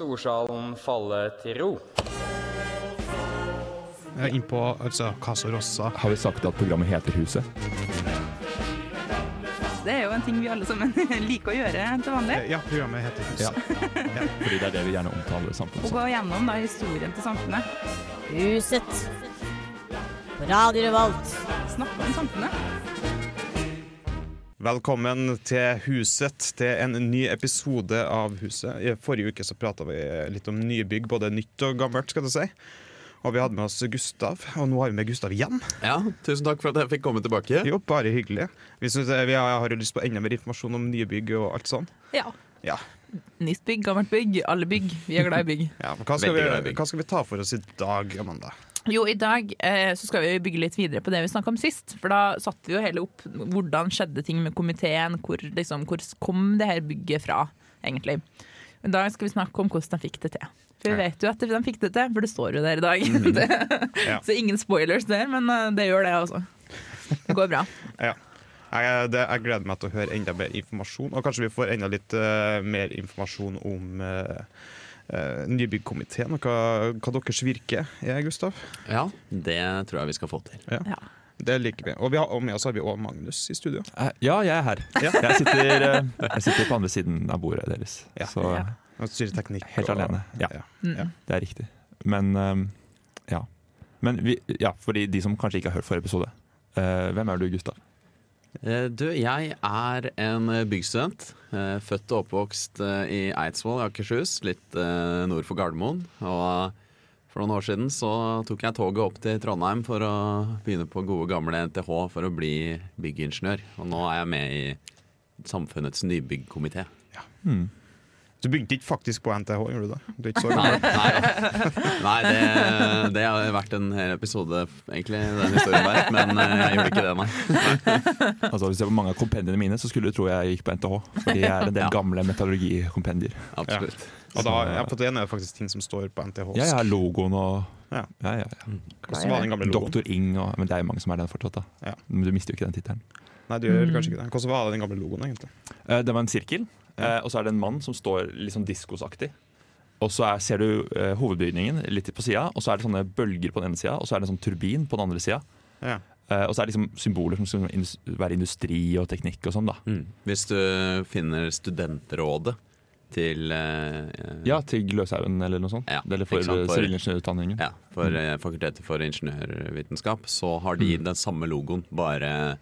storsalen falle til ro. Eh, Innpå altså, Casa Rossa. Har vi sagt at programmet heter Huset? Det er jo en ting vi alle sammen liker å gjøre til vanlig. Eh, Ja, programmet heter Hus. Ja. Fordi det er det vi gjerne omtaler samfunnet Å som. gå gjennom da, historien til samfunnet. Huset. På Radio Revolt. Snakke om samfunnet. Velkommen til Huset, til en ny episode av Huset. I forrige uke så prata vi litt om nybygg, både nytt og gammelt, skal du si. Og vi hadde med oss Gustav, og nå har vi med Gustav igjen. Ja, Tusen takk for at jeg fikk komme tilbake. Jo, bare hyggelig. Vi, synes, eh, vi har, har jo lyst på enda mer informasjon om nybygg og alt sånn. Ja. Ja. Nytt bygg, gammelt bygg, alle bygg. Vi er glad i bygg. ja men hva skal, Veldig glad i vi, bygg. hva skal vi ta for oss i dag, Amanda? Jo, i dag eh, så skal vi bygge litt videre på det vi snakka om sist. For da satte vi jo hele opp hvordan skjedde ting med komiteen, hvor, liksom, hvor kom det her bygget fra, egentlig. I dag skal vi snakke om hvordan de fikk det til. For vi vet jo at de fikk det til, for det står jo der i dag. Det- Ja. så ingen spoilers der, men eh, det gjør det, altså. Det går bra. Ja. Jeg, eh, det, jeg gleder meg til å høre enda mer informasjon, og kanskje vi får enda litt eh, mer informasjon om eh, eh, Nybyggkomiteen og hva, hva deres virke er, Gustav. Ja, Det tror jeg vi skal få til. Ja. Det liker vi. Og, vi har, og med oss har vi òg Magnus i studio. Eh, Ja, jeg er her. Jeg, sitter, eh, jeg sitter på andre siden av bordet deres. Ja. Så Ja. Han styrer teknikk. Helt og- alene, ja. ja. det er riktig. Men eh, ja. Men vi, ja, fordi de som kanskje ikke har hørt forrige episode. eh, hvem er du, Gustav? Eh, Du, jeg er en eh, byggstudent. eh, Født og oppvokst eh, i Eidsvoll i Akershus, litt eh, nord for Gardermoen. Og eh, for noen år siden så tok jeg toget opp til Trondheim for å begynne på gode gamle NTH for å bli byggingeniør. Og nå er jeg med i Samfunnets nybyggkomité. Du begynte ikke faktisk på NTH, gjorde du det? Du er ikke så Nei, gammel. nei, nei det, det har vært en hel episode, egentlig, den historien der. Men eh, jeg gjorde ikke det, nei. Altså, hvis jeg var mange av kompendiene mine, så skulle du tro jeg gikk på NTH. Fordi jeg er en del Ja. gamle metallurgikompendier. Absolutt. Og da, ja, på det ene er det faktisk ting som står på NTH. Ja, jeg har logoen og Ja. ja, ja, ja. Hvordan var den gamle logoen? Doktor Ing og Men det er jo mange som er den fortsatt, da. Ja. Men du mister jo ikke den tittelen. Nei, du gjør kanskje ikke det. Hvordan var den gamle logoen, egentlig? Eh, Det var en sirkel, eh, og så er det en mann som står litt sånn diskosaktig. Og så er, ser du eh, hovedbygningen litt på sida, og så er det sånne bølger på den ene sida, og så er det en sånn turbin på den andre sida. Ja. Eh, og så er det liksom symboler som skal indus- være industri og teknikk og sånn, da. Mm. Hvis du finner studentrådet til eh, Ja, til Gløshaugen eller noe sånt. Ja, eller for ikke sant, for- sivilingeniørutdanningen. ja, for eh, Fakultetet for ingeniørvitenskap, så har Mm. de den samme logoen, bare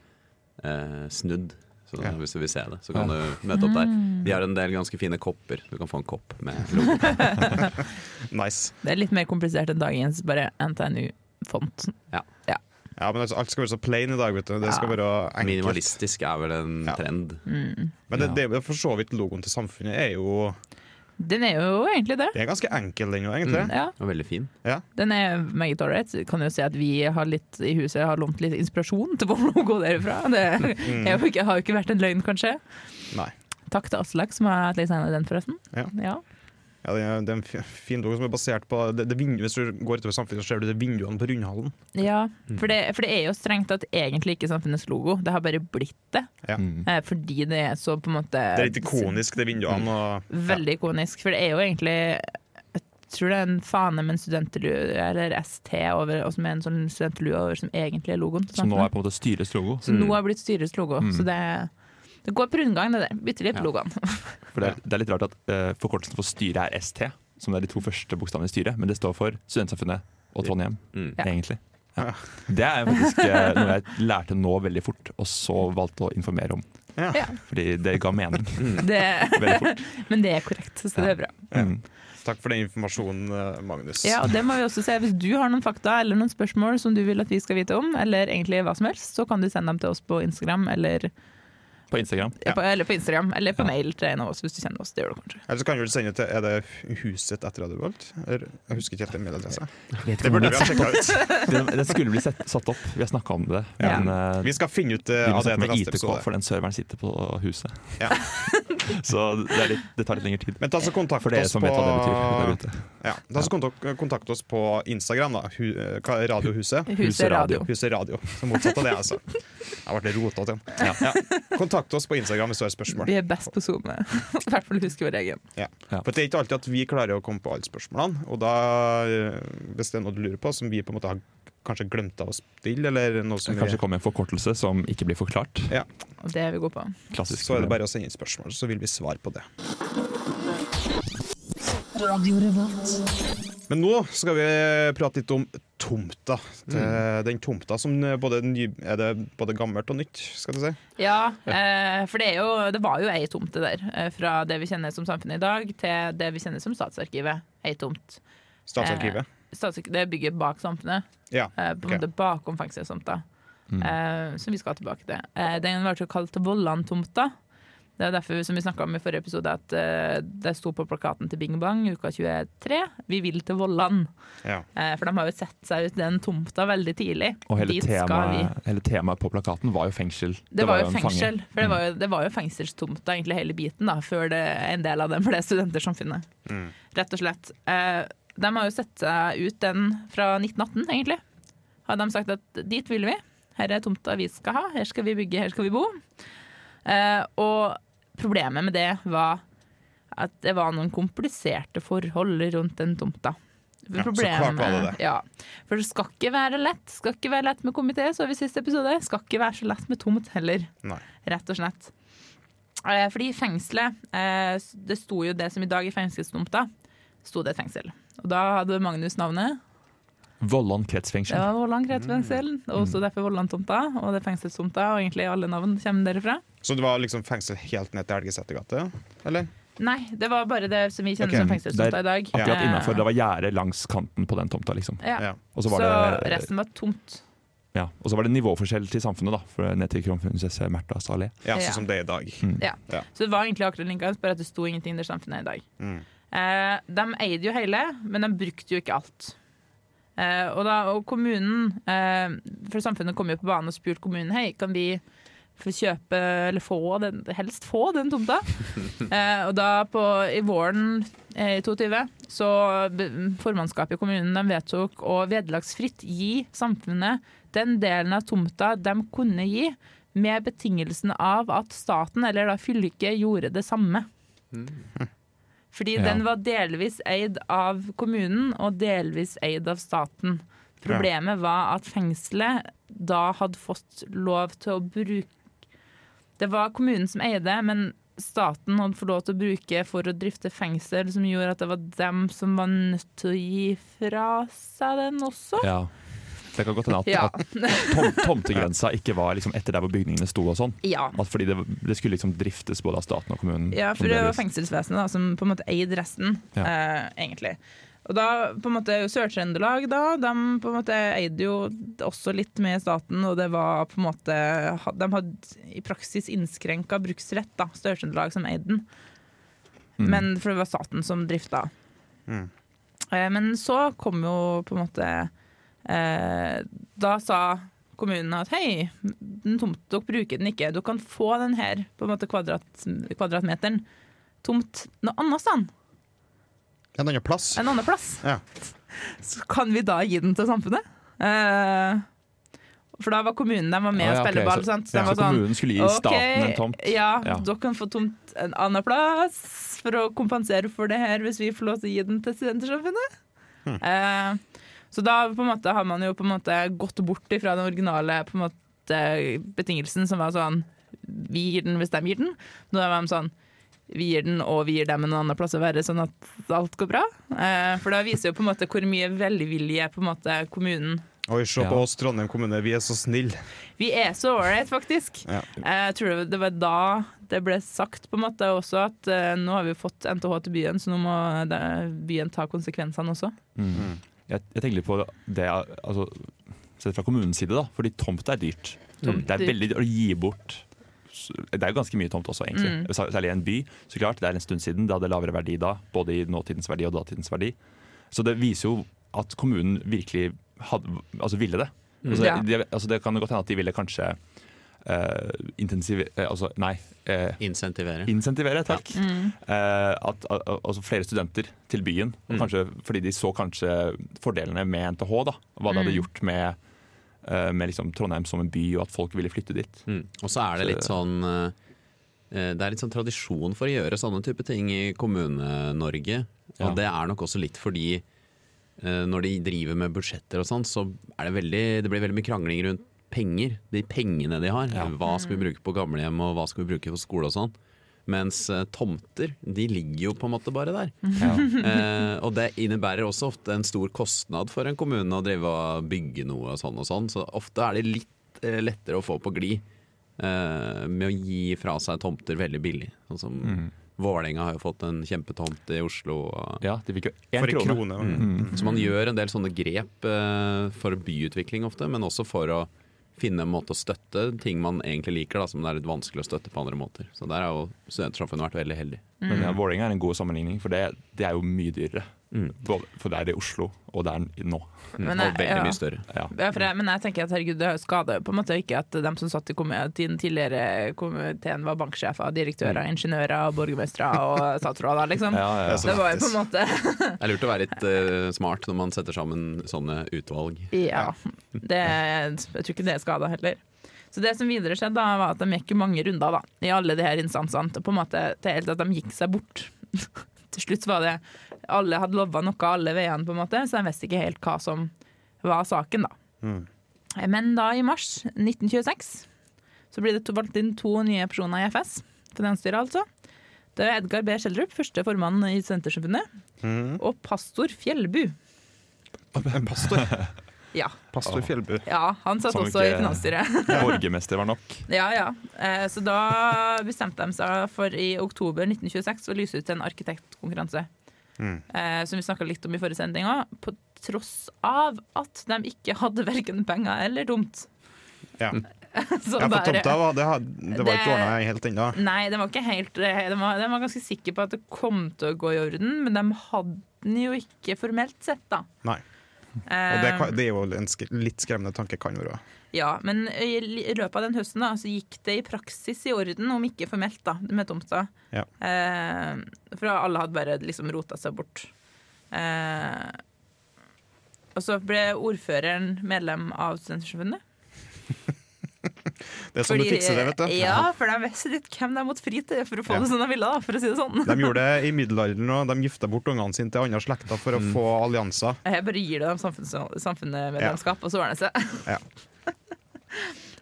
eh, snudd. Så Ja. Hvis du vil se det, så kan du møte opp der. De har en del ganske fine kopper. Du kan få en kopp med logo. Nice. Det er litt mer komplisert enn dagens bare NTNU-font. Ja, men altså, alt skal være så plain i dag, vet du. Det skal Ja. være enkelt. Minimalistisk er vel en Ja. trend. Mm. Men det, det, er jo for så vidt logoen til samfunnet er jo Den er jo egentlig det. Det er ganske enkel, den jo, egentlig. Mm. Ja. Og veldig fin. Ja. Den er meget ålreit. Kan jo si at vi har litt, i huset har lånt litt inspirasjon til hvor å gå derfra. Det Mm. er jo ikke, har jo ikke vært en løgn, kanskje. Nei. Takk til Aslak som har designa den, forresten. Ja. Ja. Ja, det, er, det er en fi- fin logo som er basert på det, det vindu, Hvis du går utover samfunnet, så ser du det vinduene på Rundhallen. Ja, Mm. for det, for det er jo strengt tatt egentlig ikke samfunnets logo, det har bare blitt det. Ja. Mm. Eh, Fordi det er så på en måte Det er litt ikonisk, det vinduene. Mm. Og, Veldig ikonisk. For det er jo egentlig Jeg tror det er en fane med en studentlue, eller ST, over, og som er en sånn studentlue over, som egentlig er logoen. til Som nå samfunnet. er på en måte styrets logo. Så nå har det blitt styrets logo. Så det, det går på rundgang, det der. Bytter litt Ja. logoen. For det er, det er litt rart at eh, forkortelsen for styret er ST, som er de to første bokstavene i styret, men det står for Studentsamfunnet og Trondheim, Mm. Ja. egentlig. Ja. Det er faktisk eh, noe jeg lærte nå veldig fort, og så valgte å informere om. Ja. Ja. Fordi det ga mening Det, veldig fort. men det er korrekt, så det er bra. Mm. takk for den informasjonen, eh, Magnus. Ja, og det må vi også se. Hvis du har noen fakta eller noen spørsmål som du vil at vi skal vite om, eller egentlig hva som helst, så kan du sende dem til oss på Instagram eller, På Instagram. ja. på, eller, på, Instagram, eller på mail til en av oss hvis du kjenner oss. Det gjør du kanskje. Eller så kan du vel sende til Er det Huset etter Radio Volt? Eller, Jeg husker ikke helt den mailadressa. Det om burde vi ha sjekka ut. Den, den skulle bli sett, satt opp, vi har snakka om det. Ja. Men eh, Vi skal finne ut eh, vi må av det til sette med neste ITK, episode. for den serveren sitter på huset. Ja. så det, er litt, det tar litt lengre tid. Men ta så kontakt For dere oss som på vet hva det betyr der ute. Ja, ta så kontakt, kontakt oss på Instagram, da. Hu, eh, hva er Radiohuset. Huset Radio. Huset Radio. Så motsatt av det, altså. Jeg ble rotete igjen. Ja. Kontakt Kontakt oss på Instagram hvis du har spørsmål. Vi er best på SoMe. I hvert fall husker vår egen. Ja. Ja. For det er ikke alltid at vi klarer å komme på alle spørsmålene. Og da, eh, hvis det er noe du lurer på som vi på en måte har kanskje glemt av å stille, eller noe som Kanskje det kommer en forkortelse som ikke blir forklart. Og det er vi gode på. Klassisk. så er det bare å sende inn spørsmål, så vil vi svare på det. Men nå skal vi prate litt om tomta. Det- Den tomta som både ny, er det både gammelt og nytt, skal du si. Ja, eh, for det, er jo, det var jo ei tomte der. eh, Fra det vi kjenner som samfunnet i dag, til det vi kjenner som Statsarkivet. Ei tomt. Statsarkivet. Statsark- det er bygget bak samfunnet. Ja. eh, På en Ok. måte bakom fengselstomta. Mm. eh, Som vi skal tilbake til. Eh, Den ble jo kalt Vollan-tomta. Det er derfor som vi snakket om i forrige episode at eh, det sto på plakaten til Bing Bang uka 23 Vi vil til Vollan. ja. Eh, For de har jo sett seg ut den tomta veldig tidlig. Og hele Dit skal vi. temaet, hele temaet på plakaten var jo fengsel. Det, var jo en fange. fengsel, for det var jo, det var jo fengselstomta egentlig hele biten da, før det, en del av den ble studentersamfunnet. Rett og slett. Eh, de har jo sett seg ut den fra 1918, egentlig. Har de sagt at dit vil vi, her er tomta vi skal ha, her skal vi bygge, her skal vi bo. Eh, og problemet med det var at det var noen kompliserte forhold rundt den tomta. Ja, så klart var det det. Ja, for det skal ikke være lett. Skal ikke være lett med komité, så vi i siste episode. Skal ikke være så lett med tomt heller Nei. rett og slett. Eh, Fordi fengselet, eh, s- det sto jo det som i dag er fengselstomta, sto det et fengsel. Og da hadde Magnus navnet. Vollan Det kretsfengsel. var Vollan kretsfengsel, Mm. og også derfor Vollan-tomta, og det er fengselstomta, og egentlig alle navn kommer derifra. Så det var liksom fengsel helt ned til Elgeseter gate? Eller? Nei, det var bare det som vi kjenner Ok, som fengselstomta i dag. Akkurat Eh, innenfor, Det var gjerde langs kanten på den tomta, liksom. Ja. Ja. Og så Så, var det, resten var tomt. ja, og så var det nivåforskjell til samfunnet, da. For ned til kronprinsesse Märthas allé. Ja, Ja. sånn som det er i dag. Ja. Ja. Så det var egentlig akkurat linka, bare at det sto ingenting der samfunnet er i dag. Mm. Eh, de eide jo hele, men de brukte jo ikke alt. Eh, og, da, og kommunen, eh, for samfunnet kom jo på banen og spurte kommunen hei, kan vi få kjøpe, eller få den, helst få den tomta. eh, og da på, i våren eh, i 22 så be- formannskapet i kommunen de vedtok å vederlagsfritt gi samfunnet den delen av tomta de kunne gi, med betingelsen av at staten, eller da fylket, gjorde det samme. Fordi Ja. den var delvis eid av kommunen og delvis eid av staten. Problemet var at fengselet da hadde fått lov til å bruke Det var kommunen som eide, men staten hadde fått lov til å bruke for å drifte fengsel, som gjorde at det var dem som var nødt til å gi fra seg den også. Ja. Det kan godt hende at, Ah. Ja. at tom, tomtegrensa ikke var liksom etter der hvor bygningene sto og sånn. ja. At fordi det, det skulle liksom driftes både av staten og kommunen. Ja, for det var fremdeles. fengselsvesenet da, som på en måte eide resten, Mm, Ja. eh, egentlig. Og da på en måte Sør-Trøndelag da, de på en måte eide jo også litt med staten, og det var på en måte ha- De hadde i praksis innskrenka bruksrett, da, Sør-Trøndelag som eide den. Men for det var staten som drifta. Mm. Eh, Men så kom jo på en måte eh, Da sa kommunen at hei, den tomt, dere bruker den ikke. Dere kan få den her på en måte kvadrat, kvadratmeteren tomt noe annet sted, En annen plass. en annen plass. Ja. Så kan vi da gi den til samfunnet? Eh, for da var kommunen de var med Ah, og ja, ok, spille ball. så- sant? Så ja. de var Så sånn, kommunen skulle gi «Ok, staten en tomt? Ja, Ja. dere kan få tomt en annen plass for å kompensere for det her, hvis vi får lov til å gi den til studentersamfunnet. Hmm. Eh, så da på en måte, har man jo på en måte gått bort ifra den originale på en måte, betingelsen som var sånn Vi gir den hvis de gir den. Nå er de sånn vi gir den, og vi gir dem en annen plass å være, sånn at alt går bra. Eh, for da viser jo på en måte hvor mye velvilje på en måte kommunen Oi, se Ja. på oss, Trondheim kommune, vi er så snille. Vi er så ålreit, faktisk. Ja. Eh, Jeg tror det- det var da det ble sagt på en måte også at eh, nå har vi jo fått NTH til byen, så nå må eh, byen ta konsekvensene også. Jeg, jeg tenker litt på det altså, Sett fra kommunens side, da. Fordi tomt er dyrt. Tomt Det er er veldig dyrt å gi bort Det er jo ganske mye tomt også, egentlig. Sær- Særlig i en by. Så klart, Det er en stund siden. Det hadde lavere verdi da. Både i nåtidens verdi og datidens verdi. Så det viser jo at kommunen virkelig hadde, altså ville det. Altså, Ja. de, altså, det kan jo godt hende at de ville kanskje eh, intensive... eh, altså, nei. eh, Insentivere. Insentivere, takk. Mm. Eh, at, al- al- altså flere studenter til byen, og kanskje fordi de så kanskje fordelene med NTH. da, Hva det Mm. hadde gjort med, eh, med liksom Trondheim som en by, og at folk ville flytte dit. Mm. Og så er det litt sånn eh, eh, det er litt sånn tradisjon for å gjøre sånne type ting i Kommune-Norge. Og Ja. det er nok også litt fordi eh, når de driver med budsjetter og sånn, så er det veldig, det blir veldig mye krangling rundt penger. De pengene de har. Ja. Hva skal vi bruke på gamlehjem, og hva skal vi bruke på skole og sånn. Mens eh, tomter, de ligger jo på en måte bare der. Mm. Eh, og det innebærer også ofte en stor kostnad for en kommune å drive og bygge noe og sånn og sånn, så ofte er det litt eh, lettere å få på glid eh, med å gi fra seg tomter veldig billig. Sånn som Vålerenga har jo fått en kjempetomt i Oslo. Og, Mm. Ja, de fikk jo én For en krone. krone. Mm. Så man gjør en del sånne grep eh, for byutvikling ofte, men også for å finne en måte å støtte ting man egentlig liker, da, som det er litt vanskelig å støtte på andre måter. Så der har jo studentsamfunnet vært veldig heldig. Men Mm. ja, Vålerenga er en god sammenligning, for det, det er jo mye dyrere. Mm. Både, for det er i Oslo, og det er nå. Men og jeg- veldig ja. mye større. Ja. Ja, for jeg, men jeg tenker at herregud, det skader jo på en måte ikke at de som satt i komiteen tidligere komiteen var banksjefer, Mm. direktører, ingeniører, borgermestere og statsråder, liksom. Ja, ja, ja. Det var jo på en måte Det er lurt å være litt eh, smart når man setter sammen sånne utvalg. Ja. Det, jeg tror ikke det skada heller. Så det som videre skjedde, da, var at de gikk jo mange runder da, i alle de her instansene. og På en måte til helt at de gikk seg bort. til slutt var det Alle hadde lova noe alle veiene, på en måte, så de visste ikke helt hva som var saken, da. Men da i mars 1926 så blir det to, valgt inn to nye personer i FS, finansstyret altså. Det er Edgar B. Schjelderup, første formann i Sentersamfunnet, og pastor Fjellbu. En pastor. Ja, Pastor Fjellbu. ja han satt Som også i ikke- finansstyret. Borgermester var nok. Ja, ja. Eh, Så da bestemte de seg for i oktober 1926 å lyse ut en arkitektkonkurranse. Mm. Eh, Som vi snakka litt om i forrige sending òg. På tross av at de ikke hadde verken penger eller tomt. Ja. Så Ja, for bare- tomta var, det, had- det var ikke Det- ordna helt ennå. Nei, de var ikke helt eh, de var, de var ganske sikre på at det kom til å gå i orden, men de hadde den jo ikke formelt sett, da. Nei. Og det, kan- det er jo en sk litt skremmende tanke, kan være. Ja, men i l- i løpet av den høsten da, så gikk det i praksis i orden, om ikke formelt, da, med tomta. Ja. Eh, for alle hadde bare liksom rota seg bort. Eh, og så ble ordføreren medlem av Studentsamfunnet. Det er sånn du Fordi- fikser det, vet du. Ja, for de visste litt hvem de måtte fri til for å få Ja. det som de ville, da, for å si det sånn. De gjorde det i middelalderen òg. De gifta bort ungene sine til andre slekter for å få allianser. Jeg bare gir det dem samfunns samfunnsmedlemskap, og så ordner det seg. Ja.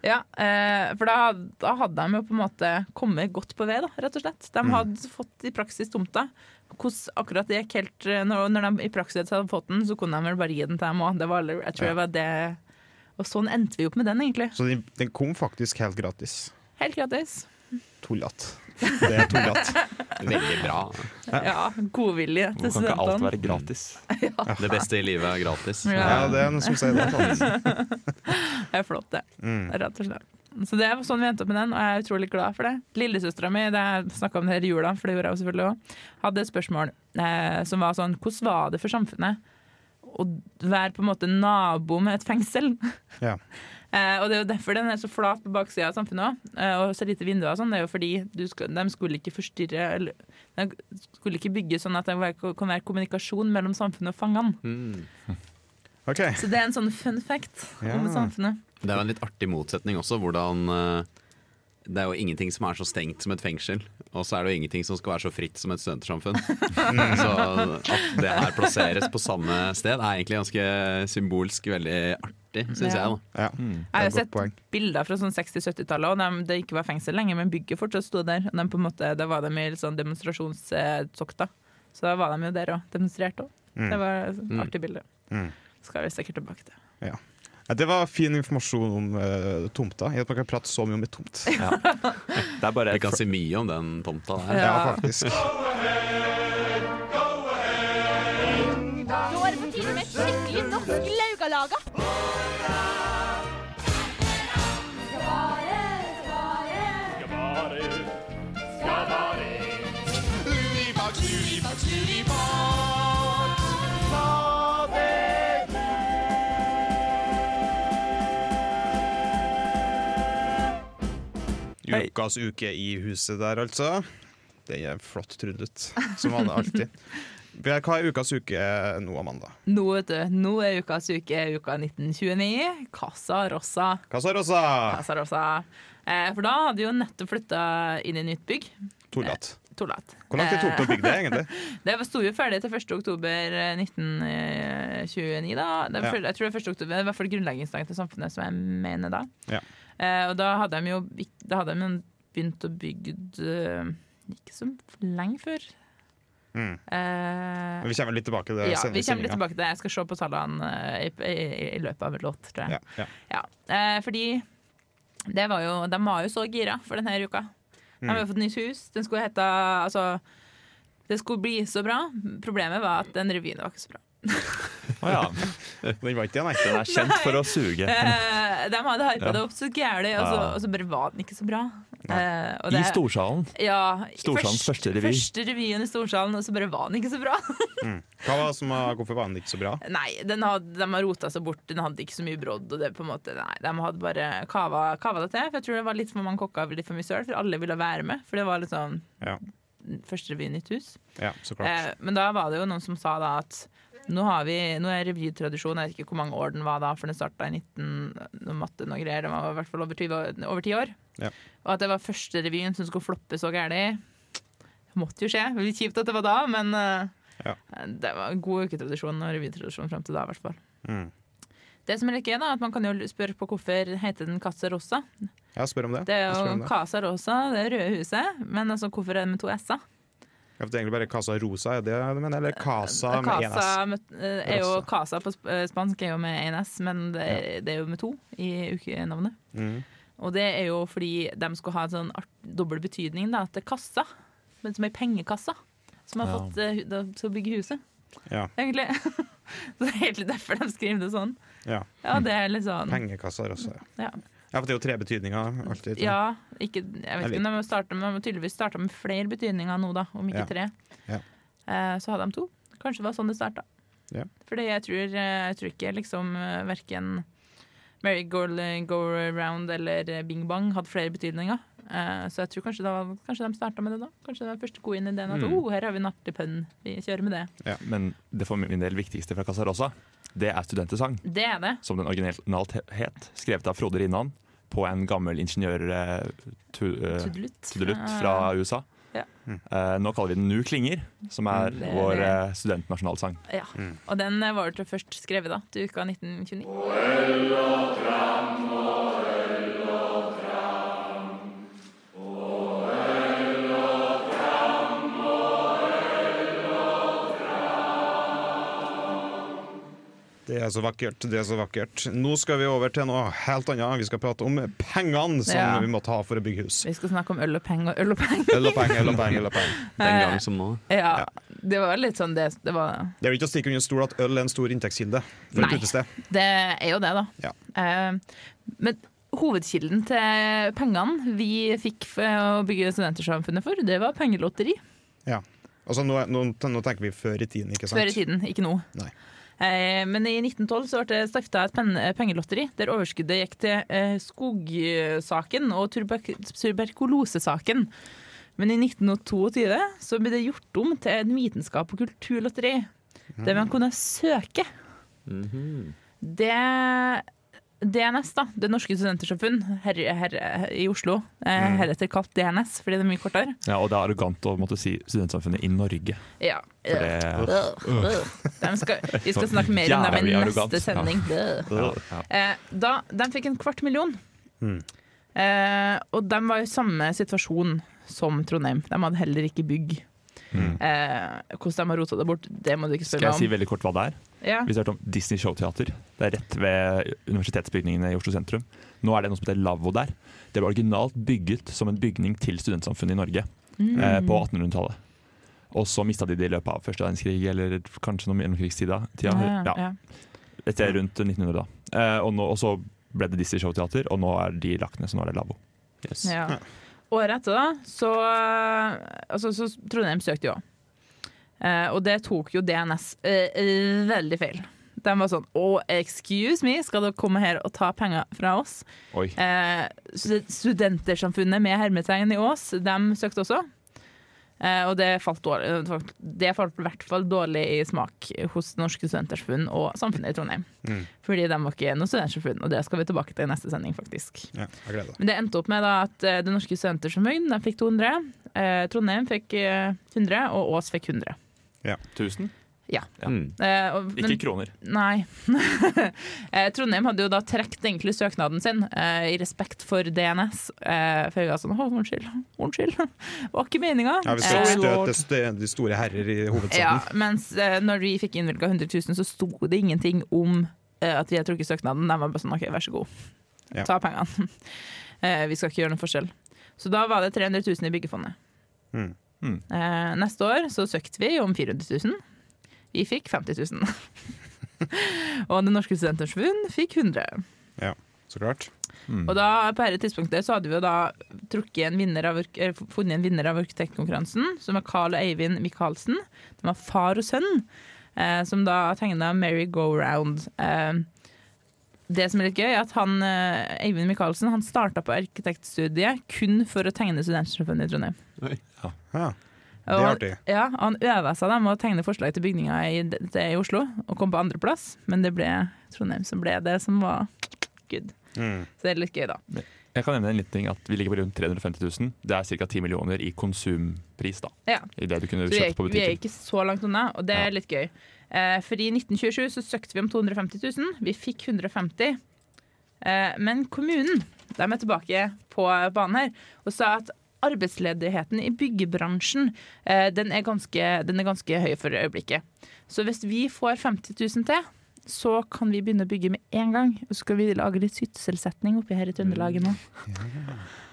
Ja, eh, for da, da hadde de jo på en måte kommet godt på vei, da, rett og slett. De hadde fått i praksis tomta. Hvordan akkurat det gikk helt eh, Når, når de i praksis hadde fått den, så kunne de vel bare gi den til dem òg. Jeg tror det var det Og sånn endte vi opp med den, egentlig. Så den, den kom faktisk helt gratis. Helt gratis. Tullete. Det er tullete. Veldig bra. Ja, godvilje Hvor til kan ikke alt studentene. være gratis? Det beste i livet er gratis. Ja. Ja, det er noen som sier det. sånn. sant? Det er flott, det. Rett og slett. Så det er sånn vi endte opp med den, og jeg er utrolig glad for det. Lillesøstera mi, det jeg snakka om det her i jula, for det gjorde jeg jo selvfølgelig òg, hadde et spørsmål eh, som var sånn Hvordan var det for samfunnet å være på en måte nabo med et fengsel? Ja. Eh, og det er jo derfor den er så flat på baksida av samfunnet òg, eh, og så lite vinduer og sånn. Det er jo fordi du skal, de skulle ikke forstyrre eller, De skulle ikke bygge sånn at det var- kan være kommunikasjon mellom samfunnet og fangene. Mm. OK. Så det er en sånn fun fact om Ja. samfunnet. Det er jo en litt artig motsetning også, hvordan eh, det er jo ingenting som er så stengt som et fengsel, og så er det jo ingenting som skal være så fritt som et studentersamfunn. Så at det her plasseres på samme sted, er egentlig ganske symbolsk veldig artig, syns Ja. jeg. da. Ja. Jeg har jo Det er et sett godt poeng. bilder fra sånn 60-70-tallet, og de, det ikke var fengsel lenger, men bygget fortsatt sto der. Og de på en måte, da var de i litt sånn demonstrasjonstokta, så da var de jo der og demonstrerte òg. Det var et artig bilde. Mm. Skal vi sikkert tilbake til. Ja. Ja, Det var fin informasjon om eh, tomta. I at man kan prate så mye om et tomt. Det er bare Vi kan si mye om den tomta der. Ja, faktisk. Nå er det på tide med skikkelig norsk laugalaga. Hei. Ukas uke i huset der, altså. Den er flott tryllet, som vanlig alltid. Vi er- Hva er ukas uke nå, Amanda? Nå, vet du, nå er ukas uke er uka 1929. Casa Rossa. Hva sa Rosa? Casa Rossa. Eh, for da hadde jo nettopp flytta inn i nytt bygg. Tullat. Torlat. Hvor lang tid tok det å bygge det, egentlig? Det var- sto jo ferdig til 1. oktober eh, 1929, da. Det var, Ja. full- Jeg tror det var 1. oktober, det var i hvert fall grunnleggingsdagen til samfunnet, som jeg mener da. Ja. Eh, og da hadde de jo ikk- da hadde de jo begynt å bygge eh, ikke så lenge før. Mm. Eh, Vi kommer litt tilbake til det ja, senere vi i kommer litt sendinga. tilbake til det. Jeg skal se på tallene eh, i, i, i løpet av en låt, tror jeg. Ja, ja. Ja, eh, fordi det var jo, de var jo så gira for denne uka. De har jo Mm. fått nytt hus. Den skulle heta altså, Det skulle bli så bra. Problemet var at den revyen var ikke så bra. Å ja. Den var ikke det, nei. Den er kjent for å suge. Eh, de hadde hypa det opp så gærent, og, så- Ja. og så bare var den ikke så bra. Eh, og Ah. I det- Storsalen. ja, i Storsalens først- første revy. Første revyen i Storsalen, og så bare var den ikke så bra. Hva var det som var, hvorfor var den ikke så bra? Nei, den hadde, de har rota seg bort. Den hadde ikke så mye brodd. Og det på en måte, nei, De hadde bare kava, kava det til. For jeg tror det var litt for mange kokker og litt for mye søl, for alle ville være med. For det var litt sånn Ja, første revy i nytt hus. ja så klart. Eh, men da var det jo noen som sa da at nå, har vi, nå er revytradisjon Jeg vet ikke hvor mange år den var da, for den starta i 19 noe matte noe greier. Den var i hvert fall over 20 år- over ti år. Ja. Og at det var første revyen som skulle floppe så gærent. Måtte jo skje. Det var Litt kjipt at det var da, men eh, Ja. det var en god uketradisjon og revytradisjon fram til da, i hvert fall. Mm. Det som er litt gøy, da, er at man kan jo spørre på hvorfor heter den Casa Rosa. Ja, spør om det. Det er Jeg spør jo om det. Casa Rosa, det røde huset, men altså hvorfor er det med to s-er? Ja, for det er egentlig bare Casa Rosa, er det det du mener? Eller Casa med én S? Eh, Casa med- eh, er jo Rosa. Casa på sp- eh, spansk er jo med én S, men det, det er jo med to i ukenavnet. Mm. Og det er jo fordi de skulle ha en sånn art, dobbel betydning da, til kassa, men som ei pengekassa. Som har Ja. fått eh, hu- da- til å bygge huset, Ja, egentlig. Så det er egentlig derfor de skriver det sånn. ja. Ja, det er litt sånn Pengekassa Rosa. Ja. Ja. ja, for det er jo tre betydninger alltid. ikke sant? Ja, ikke, jeg vet sånn. Jeg ikke, men de har startet- de har tydeligvis starta med flere betydninger nå, da, om ikke Ja. tre. Ja. Eh, Så hadde de to. Kanskje det var sånn det starta. Ja. Fordi jeg tror, jeg tror ikke liksom eh, verken Mary Go Round eller eh, Bing Bang hadde flere betydninger. Eh, Så jeg tror kanskje, da, kanskje de starta med det da. Kanskje det var første gode ideen Mm. at oh, her har vi en artig pønn, vi kjører med det. Men det for min del viktigste fra Casa Rosa, det er studentesang. Det er det. som den originalt het, skrevet av Frode Rinnan på en gammel ingeniør eh, tu- eh, Tuddelutt. Tuddelutt fra USA. Ja. Eh, nå kaller vi den Nu klinger, som er Det er vår det. eh, studentnasjonalsang. Ja. Mm. Og den eh, var jo først skrevet da, til uka 1929. Det er så vakkert, det er så vakkert. Nå skal vi over til noe helt annet. Vi skal prate om pengene som Ja. vi må ta for å bygge hus. Vi skal snakke om øl og penger og øl og penger. Eller penger, eller penger, eller penger. Den gang som nå. Ja, det var litt sånn det, det var Det er jo ikke å stikke under stol at øl er en stor inntektskilde for et Nei. utested. Det er jo det, da. Ja. Eh, men hovedkilden til pengene vi fikk for å bygge Studentersamfunnet for, det var pengelotteri Ja. Altså, nå, nå, nå tenker vi før i tiden, ikke sant? før i tiden, ikke nå. Nei. Eh, men i 1912 så ble det stifta et pen pengelotteri der overskuddet gikk til eh, skogsaken og tuberk tuberkulosesaken. Men i 1922 så ble det gjort om til et vitenskap- og kulturlotteri der man kunne søke. Det DNS, da, Det Norske Studentersamfunn her, her, i Oslo, Mm. eh, heretter kalt DNS fordi det er mye kortere. Ja, og det er arrogant å måtte si Studentsamfunnet i Norge. Ja. For det, De skal, vi skal snakke mer om dem i Sånn Jævlig arrogant. neste sending. ja, ja. Eh, da, de fikk en kvart million. Mm. Eh, og de var i samme situasjon som Trondheim. De hadde heller ikke bygg. Eh, hvordan de har rota det bort, det må du ikke Mm. Skal spørre jeg si meg om. veldig kort hva det er? Ja. Vi har hørt om Disney Showteater. Det er rett ved universitetsbygningene i Oslo sentrum. Nå er det noe som heter Lavvo der. Det ble originalt bygget som en bygning til studentsamfunnet i Norge eh, Mm. på 1800-tallet. Og så mista de det i løpet av første verdenskrig, eller kanskje noe mellomkrigstida. tida. Ja, Ja, ja. et sted rundt 1900, da. Eh, og, nå, og så ble det Disney Showteater, og nå er de lagt ned, så nå er det Lavvo. Ja. Året etter da, så, altså, så Trondheim søkte jo. Eh, og det tok jo DNS eh, eh, veldig feil. De var sånn Å, excuse me, skal dere komme her og ta penger fra oss? Oi. Eh, stud- studentersamfunnet med hermetegn i Ås, de søkte også. Eh, og det falt, dårlig, det falt i hvert fall dårlig i smak hos Norske Studentersamfunn og Samfunnet i Trondheim. Fordi de var ikke noe studentsamfunn, og det skal vi tilbake til i neste sending, faktisk. Ja, jeg gleder meg. Men det endte opp med da at eh, Det Norske Studentersamfunn de fikk 200, eh, Trondheim fikk eh, 100, og Ås fikk 100. 1000? Ja. Ja. Mm. Eh, og, men- Ikke kroner. Nei. Eh, Trondheim hadde jo da trukket egentlig søknaden sin eh, i respekt for DNS. Eh, for jeg var sånn Å, unnskyld. Unnskyld. Var ikke meninga. Ja, vi skal Eh, ikke støte st- de store herrer i ja, hovedstaden. mens eh, når vi fikk innvilga 100 000, så sto det ingenting om eh, at vi har trukket søknaden. De var bare sånn OK, vær så god. Ja. Ta pengene. eh, vi skal ikke gjøre noen forskjell. Så da var det 300 000 i byggefondet. Mm. Mm. Eh, neste år så søkte vi om 400 000. Vi fikk 50 000. Og Det Norske Studentersamfunn fikk 100 000. Så klart. Mm. Og da, på dette tidspunktet så hadde vi jo da trukket en vinner av, ark- eller funnet en vinner av arkitektkonkurransen, som var Carl og Eivind Michaelsen. De var far og sønn, eh, som da tegna Merry Go Round. Eh, det som er litt gøy, er at han, eh, Eivind Michaelsen han starta på arkitektstudiet kun for å tegne Studentsamfunnet i Trondheim. Ja, det er Og, artig. ja, han øva seg da med å tegne forslag til bygninger i, til, i Oslo, og kom på andreplass, men det ble Trondheim som ble det som var good. Mm. Så det er litt gøy, da. Jeg kan nevne en liten ting at Vi ligger på rundt 350 000. Det er ca. 10 millioner i konsumpris. da Ja. I det du kunne Så vi kjøpt er, på vi er butikken. ikke så langt unna, og det Ja. er litt gøy. Eh, for i 1927 så søkte vi om 250 000. Vi fikk 150 eh, Men kommunen de er tilbake på banen her og sa at arbeidsledigheten i byggebransjen eh, den, er ganske, den er ganske høy for øyeblikket. Så hvis vi får 50 000 til, så kan vi begynne å bygge med en gang. Og så skal vi lage litt sysselsetting oppi her i Trøndelag nå. Mm.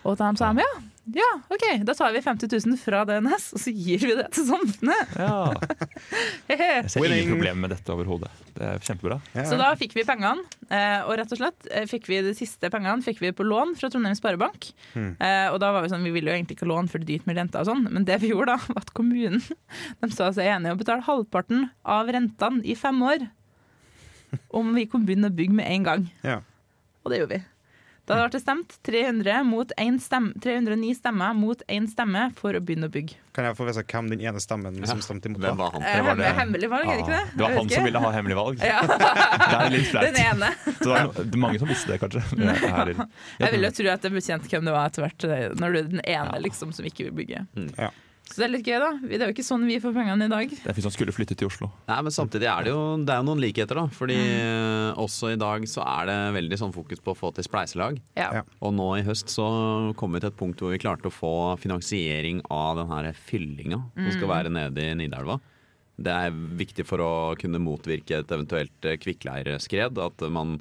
Og da sa de ja, ja, OK, da tar vi 50 000 fra DNS, og så gir vi det til samfunnet. Ja. Hehe. Jeg ser Winning. ingen problemer med dette overhodet. Det er kjempebra. Ja, Så ja. da fikk vi pengene, eh, og rett og slett eh, fikk vi de siste pengene fikk vi på lån fra Trondheim Sparebank. Eh, Og da var vi sånn, vi ville jo egentlig ikke låne for det er dyrt med renta og sånn, men det vi gjorde da, var at kommunen de sa seg enige om å betale halvparten av rentene i fem år. Om vi kunne begynne å bygge med en gang. Ja. Og det gjorde vi. Da ble det stemt 300 mot en stem, 309 stemmer mot én stemme for å begynne å bygge. Kan jeg få vite hvem den ene stemmen som stemte imot? da? Hvem var han? var Eh, det- hemmelig, hemmelig valg, er det ikke det? Ah, Det var Jeg han som vet ikke. ville ha hemmelig valg. ja, Det er litt flaut. Den ene. Så det er no- det er mange som visste det, kanskje. Det er- Jeg vil jo tro at det ble kjent hvem det var etter hvert, eh, når du er den ene Ja. Mm. liksom, som ikke vil bygge. Ja. Så det er litt gøy, da. Det er jo ikke sånn vi får pengene i dag. Det er en fyr som skulle flytte til Oslo. Nei, men samtidig er det jo det er jo noen likheter, da. Fordi eh, også i dag så er det veldig sånn fokus på å få til spleiselag. Ja. Ja. Og nå i høst så kom vi til et punkt hvor vi klarte å få finansiering av den her fyllinga som skal være nede i Nidelva. Det er viktig for å kunne motvirke et eventuelt eh, kvikkleireskred, at man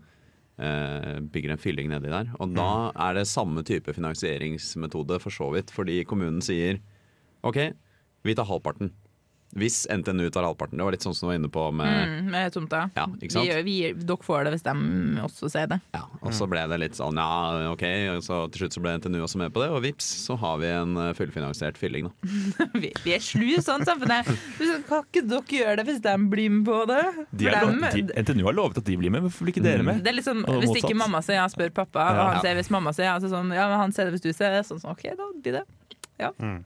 eh, bygger en fylling nedi der. Og da er det samme type finansieringsmetode for så vidt, fordi kommunen sier OK, vi tar halvparten. Hvis NTNU tar halvparten. Det var litt sånn som du var inne på med Mm, med tomta. Ja, ikke sant? Vi, gjør- vi, gjør- dere får det hvis de også sier det. Ja, Mm. og så ble det litt sånn ja, ok, og så til slutt så ble NTNU også med på det, og vips, så har vi en eh, fullfinansiert fylling, da. Vi, vi er slu i sånt samfunn. Kan ikke dere gjøre det hvis de blir med på det? De For er dem- lov, de, NTNU har lovet at de blir med, hvorfor blir ikke dere med? det er liksom, Og Hvis ikke motsatt. mamma sier ja, spør pappa, og Ja. han sier hvis mamma sier ja, så sånn, ja, men han sier det hvis du sier det, sånn sånn, OK, da blir det. Ja. Mm.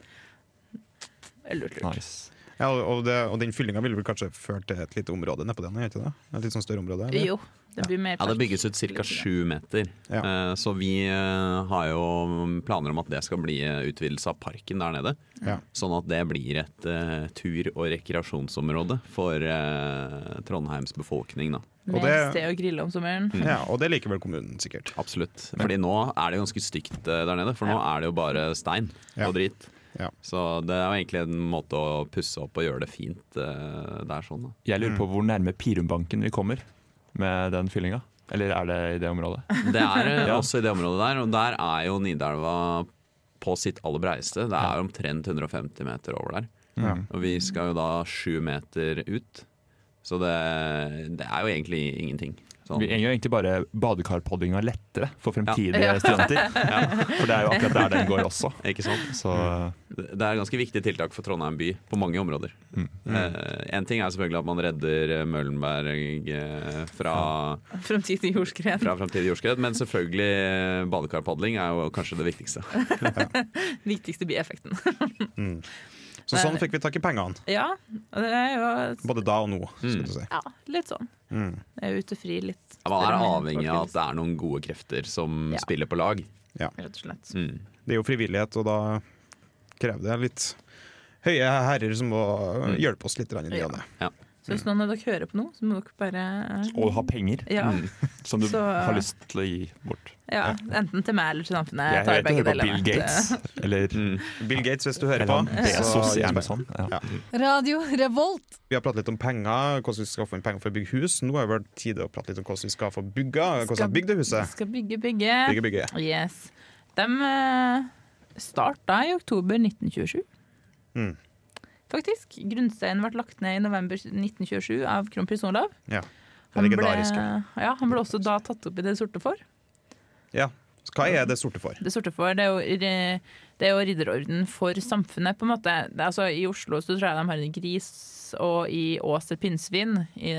Lurt, lurt. Nice. Ja, og, det, og den fyllinga ville vel kanskje ført til et lite område nedpå den? gjør ikke det? Et litt sånn større område? eller? Jo, det blir mer Ja, det park. bygges ut ca. sju meter. Ja. Eh, Så vi eh, har jo mm, planer om at det skal bli eh, utvidelse av parken der nede. Ja. Sånn at det blir et eh, tur- og rekreasjonsområde for eh, Trondheims befolkning, da. Og Mer det- sted å grille om sommeren. Mm. Mm. Ja, og det liker vel kommunen, sikkert. Absolutt. Fordi nå er det ganske stygt eh, der nede, for nå er det jo bare stein Ja. og drit. Ja. Så det er jo egentlig en måte å pusse opp og gjøre det fint eh, der sånn, da. Jeg lurer på Mm. hvor nærme Pirumbanken vi kommer med den fyllinga. Eller er det i det området? Det er eh, Ja. også i det området der, og der er jo Nidelva på sitt aller breieste. Det er omtrent 150 meter over der. Ja. Mm. Og vi skal jo da sju meter ut. Så det, det er jo egentlig ingenting. Sånn. Vi gjør egentlig bare badekarpoddinga lettere for fremtidige Ja. Ja. studenter. For det er jo akkurat der den går også. Ikke sant? Så Mm. Det det er ganske viktige tiltak for Trondheim by på mange områder. Mm. Eh, en ting er selvfølgelig at man redder eh, Møllenberg eh, fra, Fremtidig jordskred. fra framtidig jordskred, men selvfølgelig eh, badekarpadling er jo kanskje det viktigste. Viktigste bieffekten. Mm. Så sånn fikk vi tak i pengene. Ja, og det er jo Både da og nå. skal Mm. du si. ja, litt sånn. Mm. Jeg er ute fri litt. Ja, Man er større enn avhengig av at folk, det er noen gode krefter som Ja. spiller på lag. Rett og slett. Mm. Det er jo frivillighet, og da krever det litt høye herrer som må Mm. hjelpe oss litt. grann i ny Ja. og ne. Så hvis noen av dere hører på noe, så må dere bare eh, Og ha penger ja, Mm. som du Så- har lyst til å gi bort. ja, Enten til meg eller til samfunnet. Jeg Jeg tar hører Eh, begge ikke på deler. Bill Gates eller, Mm. Bill Gates, hvis du hører eller på. han Bezos så i hjelper jeg. Amazon. Ja. Ja. Radio Revolt. Vi har pratet litt om penger, hvordan vi skal få inn penger for å bygge hus. Nå er det vel tide å prate litt om hvordan vi skal få bygge, hvordan vi bygde huset. Skal bygge, bygge. Bygge, bygge. Yes. De eh, starta i oktober 1927. Mm. Faktisk. Grunnsteinen ble lagt ned i november 1927 av kronprins Olav. Ja. Det Han ble, legendariske. ja, han ble også da tatt opp i Det sorte får. Ja. Så Hva er det sorte for? Det sorte får, det er jo, ri- det er jo ridderorden for samfunnet, på en måte. Det, er altså, I Oslo så tror jeg de har en gris, og i Ås et pinnsvin. I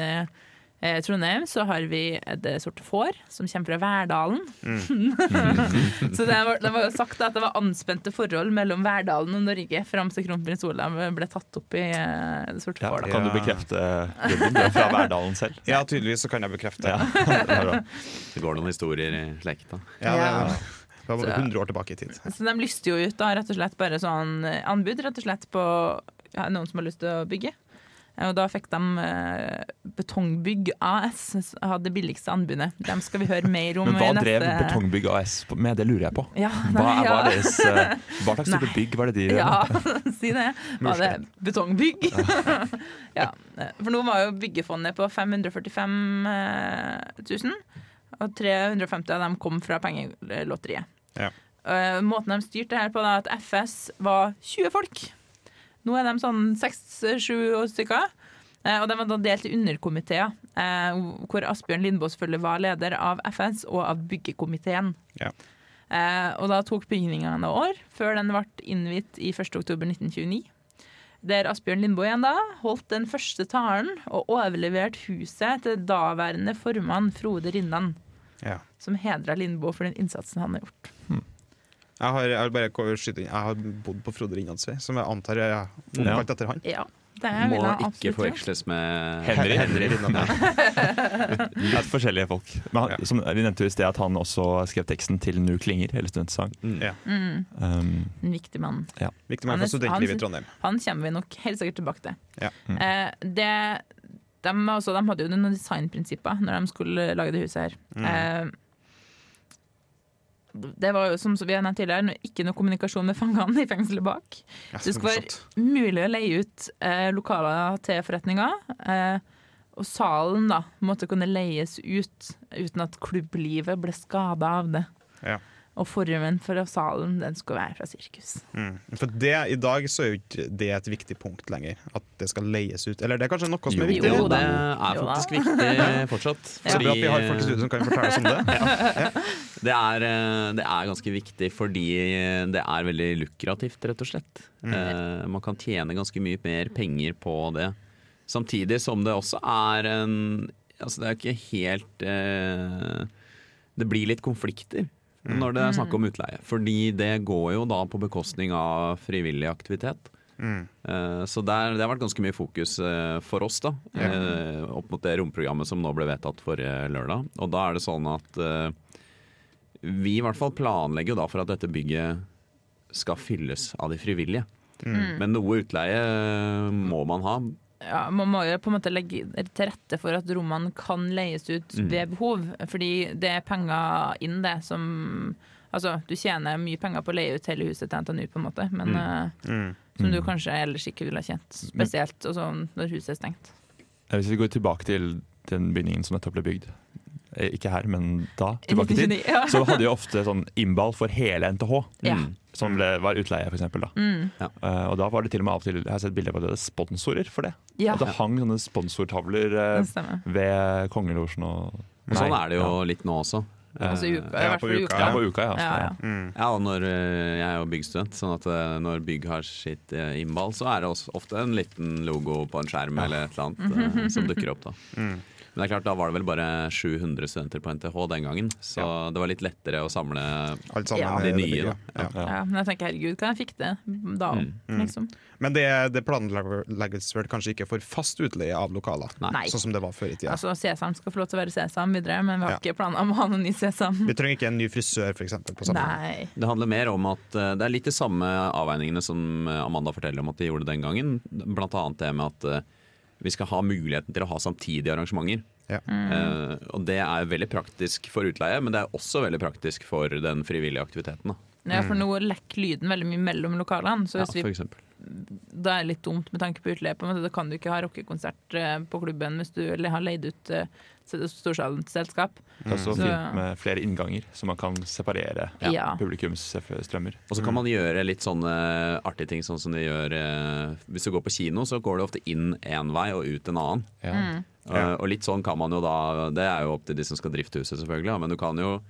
eh, Trondheim så har vi det sorte får, som kommer fra Verdalen. så det var, det var jo sagt at det var anspente forhold mellom Verdalen og Norge fram til kronprins Olav ble tatt opp i eh, det sorte Ja, får. da Da. kan du Ja. bekrefte jobben. Det er fra Verdalen selv. Ja, tydeligvis så kan jeg bekrefte. Ja. Ja. det er bra. Det går noen historier i slekta. Ja. det, det var 100 år tilbake i tid. Så de lyste jo ut da, rett og slett bare sånn eh, anbud rett og slett på ja, noen som har lyst til å bygge. Eh, Og da fikk de eh, Betongbygg AS, s- hadde det billigste anbudet. Dem skal vi høre mer om Men hva i neste drev Betongbygg AS på- med? Det lurer jeg på. Ja, Hva, hva, nei, ja. er deres, eh, hva slags type Nei. bygg var det de drev med? Ja, si det. Var det betongbygg? ja. For nå var jo byggefondet på 545 000, eh, og 350 av dem kom fra pengelotteriet. Ja. Eh, måten de styrte det her på, da, at FS var 20 folk. Nå er de sånn 6-7 stykker. Eh, Og de var da delt i underkomiteer, eh, hvor Asbjørn Lindboe selvfølgelig var leder av FS og av byggekomiteen. Ja. Eh, og da tok bygningene noen år, før den ble innvidd i 1. oktober 1929. Der Asbjørn Lindboe igjen da holdt den første talen og overleverte huset til daværende formann Frode Rinnan, Ja. som hedra Lindboe for den innsatsen han har gjort. Jeg har, jeg har bare ko- skyte inn Jeg har bodd på Frode Rinnansvei, som jeg antar er omkalt etter han. Ja, det Må vil jeg ikke absolutt gjøre. forveksles med Henry. Rinnan. Litt forskjellige folk. Men han, Ja. som vi nevnte jo i sted, at han også skrev teksten til Nu klinger, hele studentsang. Ja. Mm, Um, en viktig mann. Viktig mann Han er- for studentlivet han- i Trondheim. Han kommer vi nok helt sikkert tilbake til. Ja. Mm. Eh, det, de, altså, de hadde jo noen designprinsipper når de skulle lage det huset her. Mm. Eh, det var jo som vi har nevnt tidligere, no- ikke noe kommunikasjon med fangene i fengselet bak. Ja, Det skulle være morsomt. mulig å leie ut eh, lokaler til forretninga. Eh, og salen da måtte kunne leies ut uten at klubblivet ble skada av det. Ja. Og formen for salen den skulle være fra sirkus. Mm. For det, i dag så er jo ikke det et viktig punkt lenger. At det skal leies ut. Eller det er kanskje noe som er Jo, viktig. Jo, Jo da. det er Jo da. faktisk viktig fortsatt. Så bra at vi har folk i studio som kan fortelle oss om det. Det er, eh, det er ganske viktig fordi eh, det er veldig lukrativt, rett og slett. Eh, Man kan tjene ganske mye mer penger på det. Samtidig som det også er en Altså, det er ikke helt eh, Det blir litt konflikter når det er snakk om utleie. Fordi det går jo da på bekostning av frivillig aktivitet. Mm. Eh, Så der, det har vært ganske mye fokus eh, for oss, da. eh, Opp mot det romprogrammet som nå ble vedtatt forrige lørdag. Og da er det sånn at eh, vi i hvert fall planlegger jo da for at dette bygget skal fylles av de frivillige. Mm. Mm. Men noe utleie eh, må man ha. ja, man må jo på en måte legge til rette for at rommene kan leies ut Mm. ved behov. Fordi det er penger inn det som Altså, du tjener mye penger på å leie ut hele huset til NTNU, på en måte, men eh, Mm. som du kanskje ellers ikke ville ha tjent. Spesielt og sånn når huset er stengt. Mm. hvis vi går tilbake til den bygningen som nettopp ble bygd, eh, ikke her, men da, tilbake til, 1929, ja. så hadde jo ofte sånn innball for hele NTH. Ja. Mm. Mm. Som ble, var utleie, for eksempel. Da. Ja. Eh, og da var det til og med av og til Jeg har sett bilder på det, det er sponsorer for det. Ja, At det hang sånne sponsortavler eh, det stemmer. ved Kongelosjen og Og sånn Nei, er det jo ja. litt nå også. Altså i uka, i ja, Mm. hvert på fall i uka, uka. Ja, på uka, ja. Ja, ja. Ja, og når, eh, jeg er jo byggstudent, sånn at eh, når bygg har sitt eh, innball, så er det også ofte en liten logo på en skjerm eller et eller annet eh, som dukker opp. da. Men det er klart, da var det vel bare 700 studenter på NTH den gangen, så det var litt lettere å samle Alt sammen Ja. er De det nye, bygget. da. Ja. Ja, men jeg tenker, herregud, hva jeg fikk det da Mm. òg, liksom. Men det, det planlegges vel kanskje ikke for fast utleie av lokaler, Nei. sånn som det var før i tida. Altså, Sesam skal få lov til å være Sesam videre, men vi Ja. har ikke planer om å ha noen ny Sesam. Vi trenger ikke en ny frisør, for eksempel, på samme Mm. Nei. Det handler mer om at eh, det er litt de samme avveiningene som eh, Amanda forteller om at de gjorde den gangen. Blant annet det med at eh, vi skal ha muligheten til å ha samtidige arrangementer. Ja. Eh, og det er veldig praktisk for utleie, men det er også veldig praktisk for den frivillige aktiviteten. Da. Ja, for Mm. nå lekker lyden veldig mye mellom lokalene, så Ja, hvis for vi, eksempel. da er det litt dumt med tanke på utleie. på en måte. Da kan du ikke ha rockekonsert eh, på klubben hvis du eller har leid ut eh, storsalen til selskap. Det er Mm. også Så- fint med flere innganger, så man kan separere Ja. publikumsstrømmer. Og så Mm. kan man gjøre litt sånne artige ting, sånn som de gjør eh, Hvis du går på kino, så går det ofte inn én vei og ut en annen. Mm. Eh, og litt sånn kan man jo da Det er jo opp til de som skal drifte huset, selvfølgelig, da, men du kan jo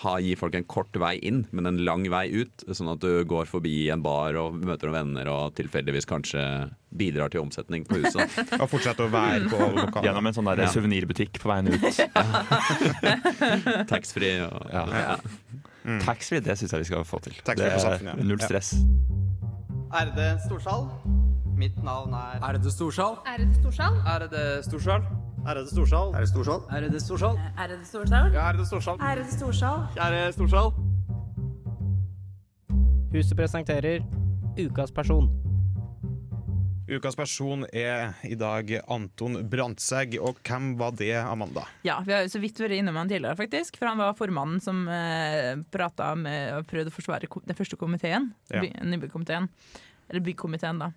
ha, gi folk en kort vei inn, men en lang vei ut. Sånn at du går forbi en bar og møter noen venner og tilfeldigvis kanskje bidrar til omsetning på huset. da. Og fortsette å være på lokalet. Gjennom en sånn der Ja. suvenirbutikk på veien ut. Taxfree og Ja. Taxfree, det syns jeg vi skal få til. Mm. Taxfree Det på er Samfunnet, ja. Null Ja. stress. Ærede Storsal. Mitt navn er Ærede Storsal. Ærede Storsal. Ærede Storsal. Ærede Storsal. Ærede Storsal. Ærede Storsal. Er det Storsalen? Ærede Storsal. Ærede Storsal. Kjære Storsal. Huset presenterer Ukas person. Ukas person er i dag Anton Brandtzæg, og hvem var det, Amanda? Ja, vi har jo så vidt vært innom han tidligere, faktisk. For han var formannen som eh, prata med og prøvde å forsvare ko- den første komiteen. Ja. By, Nybyggkomiteen. Eller byggkomiteen, da.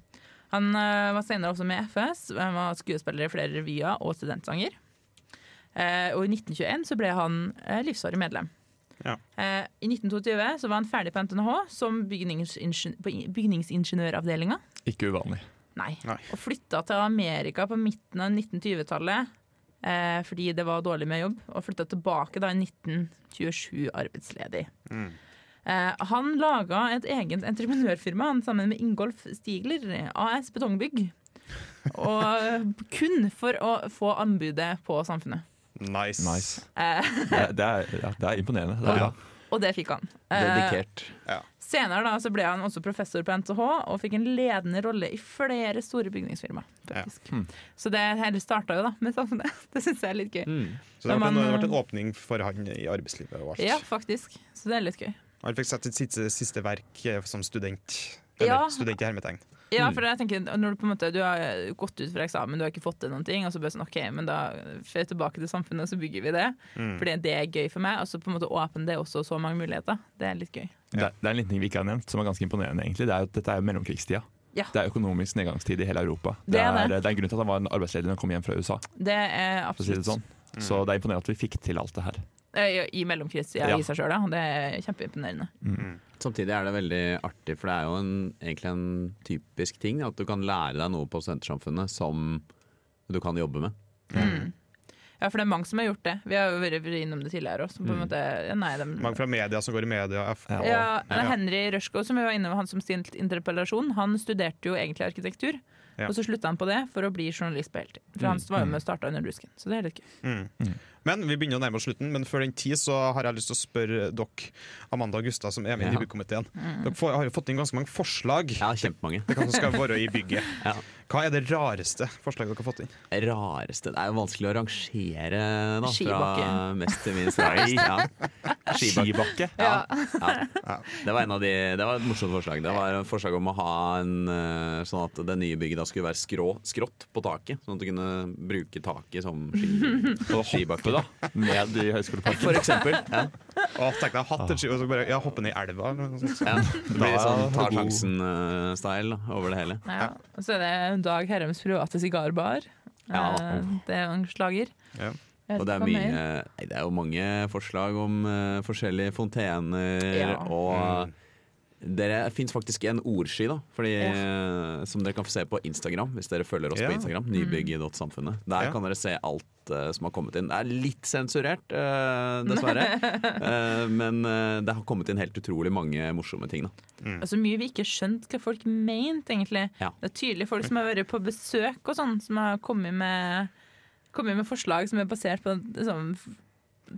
Han eh, var senere også med i FS. Han var skuespiller i flere revyer og studentsanger. Eh, og i 1921 så ble han eh, livsvarig medlem. Ja. Eh, I 1922 så var han ferdig på NTNH som bygningsingeniør, på i- bygningsingeniøravdelinga. Ikke uvanlig. Nei. Nei. Og flytta til Amerika på midten av 1920-tallet eh, fordi det var dårlig med jobb, og flytta tilbake da i 1927 arbeidsledig. Eh, han laga et eget entreprenørfirma han sammen med Ingolf Stigler AS Betongbygg. Og kun for å få anbudet på Samfunnet. Nice. Nice. Eh, Det, det, er, ja, det er imponerende. Det er, bra. og det fikk han. Eh, dedikert. senere da, så ble han også professor på NTH og fikk en ledende rolle i flere store bygningsfirmaer. faktisk. Så det hele starta jo da med samfunnet. Det syns jeg er litt gøy. Så det har vært Men en, det har han- vært en åpning for han i arbeidslivet og alt. Ja, faktisk. Så det er litt gøy. Han fikk sett sitt siste, siste verk eh, som student. Eller Ja. student i hermetegn. Ja, Mm. for jeg tenker, når du på en måte du har gått ut fra eksamen, du har ikke fått til noen ting, og så bare sånn OK, men da får jeg tilbake til samfunnet, og så bygger vi det. Mm. Fordi det er gøy for meg. Og så på en måte åpner det også så mange muligheter. Det er litt gøy. Det, er- det er en liten ting vi ikke har nevnt, som er ganske imponerende. egentlig. Det er jo, at dette er jo mellomkrigstida. Ja. Det er økonomisk nedgangstid i hele Europa. Det er det. det er en grunn til at han var en arbeidsledig når han kom hjem fra USA. Det er for å si absolutt det sånn. Så Mm. det er imponerende at vi fikk til alt det her. eh, I mellomkrigstida Ja. i seg sjøl, ja. Det er kjempeimponerende. Samtidig er det veldig artig, for det er jo en, egentlig en typisk ting at du kan lære deg noe på studentersamfunnet som du kan jobbe med. Ja, for det er mange som har gjort det. Vi har jo vært vært innom det tidligere òg. Mm. Nei, de- Mange fra media som går i media. FK. Ja, Ja. Henry Røsgaard, som vi var innom, han som stilte interpellasjon, han studerte jo egentlig arkitektur. Ja. Og så slutta han på det for å bli journalist på heltid. For han var jo med og starta under rusken. Så det er litt gøy. Men vi begynner å nærme oss slutten, men før den tid så har jeg lyst til å spørre dere, Amanda og Gustav, som er med i Ja. Nybykomiteen. Mm. Dere får, har jo fått inn ganske mange forslag Ja, kjempemange. til hva som skal være i bygget. Hva er det rareste forslaget dere har fått inn? Rareste Det er jo vanskelig å rangere, da. Fra Skibakke. mest til minst rarest. Ja. Skibakke. Ja. Det var, en av de, det var et morsomt forslag. Det var et forslag om å ha en eh, sånn at det nye bygget da skulle være skrå, skrått på taket. Sånn at du kunne bruke taket som ski. Og hoppe da, ned i Høgskoleparken. For eksempel. Ja. Å, tenk deg hatt et ski, og så bare ja, hoppe ned i elva. eller noe sånt. Ja. Det blir litt sånn Da- tar sjansen-style over det hele. Ja. Og så er det Dag Herrems private sigarbar. Ja. Eh, Det er jo en slager. Ja. Jeg vet Og det er ikke hva mye mer. nei, Det er jo mange forslag om eh, forskjellige fontener Ja. og Dere fins faktisk en ordsky, da, fordi, eh, som dere kan få se på Instagram. Hvis dere følger oss Ja. på Instagram. Nybygg.samfunnet. Der Ja. kan dere se alt eh, som har kommet inn. Det er litt sensurert, eh, dessverre. Eh, men eh, det har kommet inn helt utrolig mange morsomme ting. Da. Altså, mye vi ikke skjønte hva folk mente, egentlig. Ja. Det er tydelig folk som har vært på besøk og sånn, som har kommet med kommer med forslag som er basert på liksom,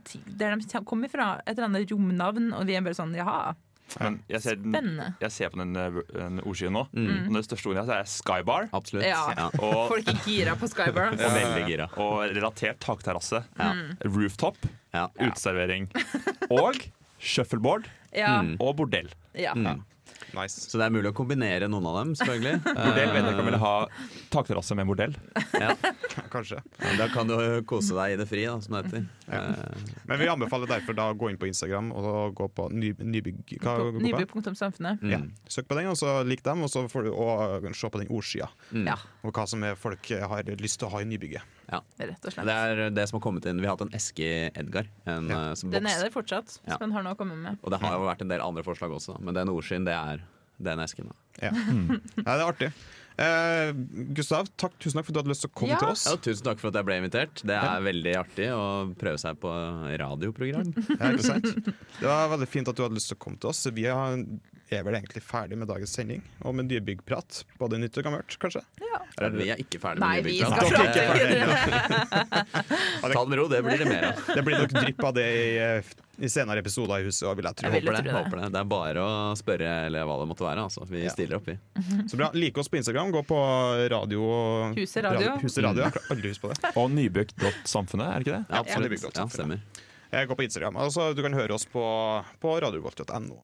ti- der de kommer fra. Et eller annet romnavn, og vi er bare sånn jaha. Men jeg ser, den, Spennende. jeg ser på den, eh, den ordskyen nå. Mm. Og det største ordet jeg har, er skybar. Absolutt. Ja. Og, Folk er gira på Skybar. Og veldig gira. og relatert takterrasse. Ja. Rooftop. Ja. Uteservering. Og shuffleboard. Ja, Mm. Og bordell. ja. Nice. Så det er mulig å kombinere noen av dem, selvfølgelig. Eh, Bordell vet jeg ikke om jeg vil ha takterrasse med bordell. Kanskje. Eh, Da kan du kose deg i det fri, da, som det heter. Eh, Men vi anbefaler derfor da å gå inn på Instagram og gå på ny, nybygg... Hva På går det på? Nyby.samfunnet. Ja. Søk på den, og så lik dem, og så får du og se på den ordsida. Ja, Og hva som er folk har lyst til å ha i nybygget. rett og slett. Det er det som har kommet inn. Vi har hatt en eske i Edgar. En, Ja. eh, som Den boks. er der fortsatt, Ja. hvis man har noe å komme med. Og det har jo vært en del andre forslag også, da. men den ordskyen, det er den esken. Da. Ja. Nei, det er artig. Eh, Gustav, takk, tusen takk for at du hadde lyst til å komme Ja. til oss. Ja, tusen takk for at jeg ble invitert. Det er veldig artig å prøve seg på radioprogram. Ja, ikke sant? Det var veldig fint at du hadde lyst til å komme til oss. Vi har- er vel egentlig ferdig med dagens sending, og med nybyggprat. Både nytt og gammelt, kanskje. Eller, vi er ikke ferdig Nei, med vi nybyggprat. skal prate videre. Ta det med ro, det blir det mer av. Det blir nok drypp av det i, eh, i senere episoder i huset, og vil jeg tro. Jeg vil Håper jo det, tro det. håper det. Det er bare å spørre eller hva det måtte være. Altså. Vi stiller opp, vi. Så bra. Like oss på Instagram. Gå på radio Huset Radio. Huset radio. Jeg klarer aldri å huske på det. Og nybygd.samfunnet, er det ikke det? Ja, det blir godt. absolutt. Ja, stemmer. Eh, Gå på Instagram. Altså, du kan høre oss på, på radiovolt.no.